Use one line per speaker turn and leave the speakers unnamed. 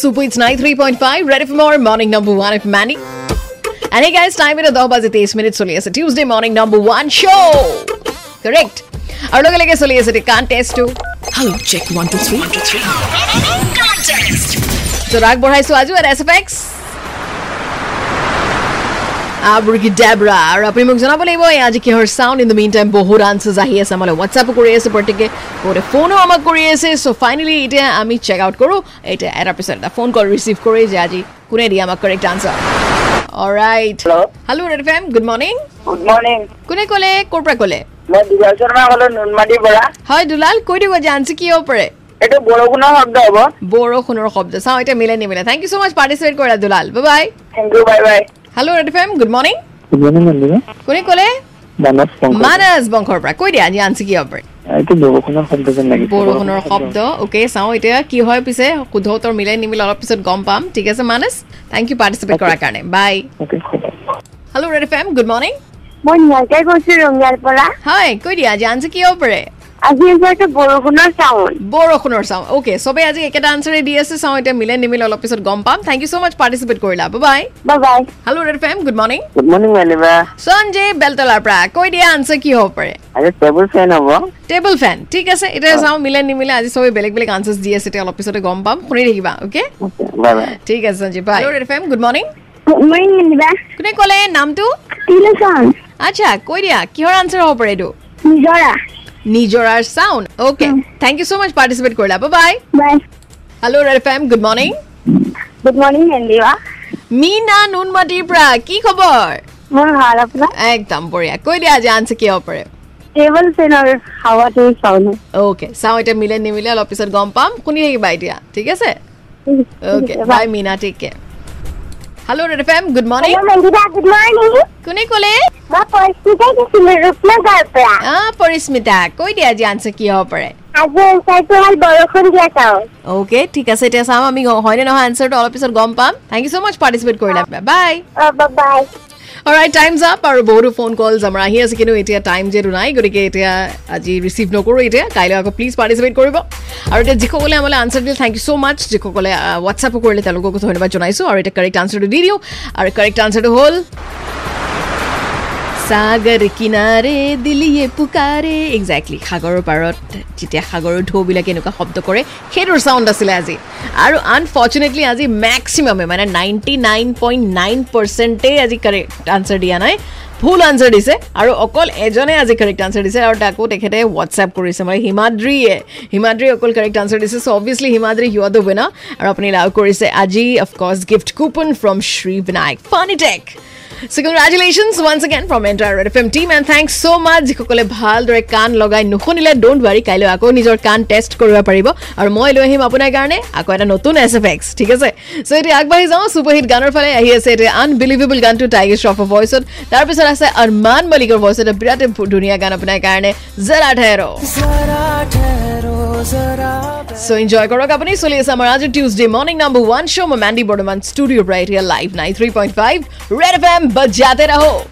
Super it's 93.5 red FM और morning number 1 FM मैनी and hey guys time है 10 बजे 23 मिनट सुनिए से Tuesday morning number 1 show correct और लोग लगे सुनिए से contest to
Hello, check one, two, three. One, two, three.
তো রাগ বঢ়াইছো আজিও এটা এছ এফ এক্স আবুৰ্গিডাবৰা আৰু আপুনি মোক জনাব লাগিব এই আজি কিহৰ sound in the main time বহুত আনচাৰ্ছ আহি আছে আমালৈ হোৱাটছআপো কৰি আছে প্ৰত্যেকে বহুতে ফোনো আমাক কৰি আছে চ' ফাইনেলি এতিয়া আমি চেক আউট কৰোঁ এতিয়া এটাৰ পিছত এটা ফোন কল ৰিচিভ কৰি যে আজি কোনে দিয়ে আমাক correct answer alright
Hello.
Hello' Red FM good morning
good morning
কোনে ক'লে ক'ৰ পৰা ক'লে
মই বিজয় শৰ্মা ক'লো নুনমাটিৰ পৰা
হয় দুলাল কৈ দিব যে আনচাৰ কি হ'ব পাৰে
এইটো বৰষুণৰ শব্দ হ'ব
বৰষুণৰ শব্দ চাওঁ এতিয়া মিলে নিমিলে thank you so' much participate কৰা Dulal bye
thank you bye bye
hello' Red FM good morning
good morning বন্ধু
কোনে ক'লে
মানৱ শংকৰ
মানস বংশৰ পৰা কৈ দিয়া আজি আনছি কি হ'ব
এইটো বৰষুণৰ শব্দ যেন লাগিছে
বৰষুণৰ শব্দ অ'কে চাওঁ এতিয়া কি হয় পিছে শুদ্ধ উত্তৰ মিলাই নিমিলে অলপ পিছত গম পাম ঠিক আছে মানস থেংক ইউ পাৰ্টিচিপেট কৰাৰ কাৰণে বাই
Okay, হ'ব।
Hello' red F M good morning
মই নিয়াৰকাই কৈছো ৰঙিয়াৰ পৰা
হয় কৈ দিয়া আজি আনছি কি হ'ব পাৰে
আজি হৈছে এইটো বৰষুণৰ চাউণ্ড
বৰষুণৰ চাওঁ অ'কে চবেই আজি একেটা আনচাৰে দি আছে চাওঁ এতিয়া মিলাই নিমিলে অলপ পিছত গম পাম thank you so' much participate কৰিলা bye
bye bye
hello' red F M good morning
good morning মালিবা
সঞ্জয় বেলতলাৰ পৰা কৈ দিয়া আনচাৰ কি হ'ব পাৰে
আজি টেবুল ফেন হ'ব
টেবল ফেন ঠিক আছে এতিয়া চাওঁ মিলে নিমিলে আজি চবেই বেলেগ বেলেগ আনচাৰ্ছ দি আছে এতিয়া অলপ পিছতে গম পাম শুনি থাকিবা অ'কে
বাই বাই
ঠিক আছে সঞ্জীৱ ভাই Red FM good morning
good morning মালিবা
কোনে ক'লে নামটো
তিলোচন
আচ্ছা কৈ দিয়া কিহৰ আনচাৰ হ'ব পাৰে এইটো
নিজৰা
নিজৰাৰ sound okay thank you so' much participate কৰিলা bye
bye
hello' red FM good morning
good morning মেলিবা
মীনা নুনমাটিৰ পৰা কি খবৰ
মোৰ ভাল আপোনাৰ
একদম বঢ়িয়া কৈ দিয়া আজি আনচাৰ কি হ'ব পাৰে
টেবুল ফেনৰ হাৱাটো চাউণ্ড
অ'কে চাওঁ এতিয়া মিলে নিমিলে অলপ পিছত গম পাম শুনি থাকিবা এতিয়া ঠিক আছে okay bye Meena take care hello' red FM good morning
Mandira good morning
কোনে ক'লে
মই পৰিস্মিতাই কৈছিলো ৰূপনগৰৰ পৰা
অঁ পৰিস্মিতা কৈ দিয়া আজি আনচাৰ কি হ'ব পাৰে
আজি এনচাৰটো হ'ল বৰষুণ দিয়া চাউণ্ড
অ'কে ঠিক আছে এতিয়া চাম আমি হয়নে নহয় আনচাৰটো অলপ পিছত গম পাম thank you so' much participate কৰিলা bye
bye bye
alright time's up আৰু বহুতো ফোন কলছ আমাৰ আহি আছে কিন্তু এতিয়া টাইম যিহেতু নাই গতিকে এতিয়া আজি ৰিচিভ নকৰোঁ এতিয়া কাইলৈ আকৌ প্লিজ পাৰ্টিচিপেট কৰিব আৰু এতিয়া যিসকলে আমালৈ আনচাৰ দিলে থেংক ইউ ছ' মাছ যিসকলে হোৱাটছআপো কৰিলে তেওঁলোককো ধন্যবাদ জনাইছোঁ আৰু এতিয়া কাৰেক্ট আনচাৰটো দি দিওঁ আৰু কাৰেক্ট আনচাৰটো হ'ল সাগৰ কিনাৰে দিলিয়ে পুকাৰে এক্সেক্টলি সাগৰৰ পাৰত যেতিয়া সাগৰৰ ঢৌবিলাকে এনেকুৱা শব্দ কৰে সেইটোৰ চাউণ্ড আছিলে আজি আৰু আনফৰ্চুনেটলি আজি মেক্সিমামে মানে নাইণ্টি নাইন পইণ্ট নাইন পাৰ্চেণ্টেই আজি কাৰেক্ট আনচাৰ দিয়া নাই ভুল আনচাৰ দিছে আৰু অকল এজনে আজি কাৰেক্ট আনচাৰ দিছে আৰু তাকো তেখেতে হোৱাটছএপ কৰিছে মানে হিমাদ্ৰীয়ে হিমাদ্ৰীয়ে অকল কাৰেক্ট আনচাৰ দিছে so' obviously Himadri you are the winner আৰু আপুনি লাভ কৰিছে আজি of course gift coupon from Shri Vinayak Furnitech So congratulations once again from entire Red FM team and thanks so much যিসকলে ভালদৰে কাণ লগাই নুশুনিলে ডোণ্ট ৱাৰি কাইলৈ আকৌ নিজৰ কাণ টেষ্ট কৰিব পাৰিব আৰু মই লৈ আহিম আপোনাৰ কাৰণে আকৌ এটা নতুন এছ এফ এক্স ঠিক আছে চ' এতিয়া আগবাঢ়ি যাওঁ ছুপাৰহিট গানৰ ফালে আহি আছে এতিয়া আনবিলিভেবল গানটো টাইগাৰ শ্ৰফৰ ভইচত তাৰপিছত আছে আৰমান মলিকৰ ভইচত এটা বিৰাট ধুনীয়া গান আপোনাৰ কাৰণে জৰা ঠেৰ চ' এনজয় কৰক আপুনি চলি আছে আমাৰ আজি Tuesday morning number one show' মই মেণ্ডি বৰ্তমান ষ্টুডিঅ'ৰ পৰা এতিয়া live ninety three point five Red F M বাজাতে ৰাহক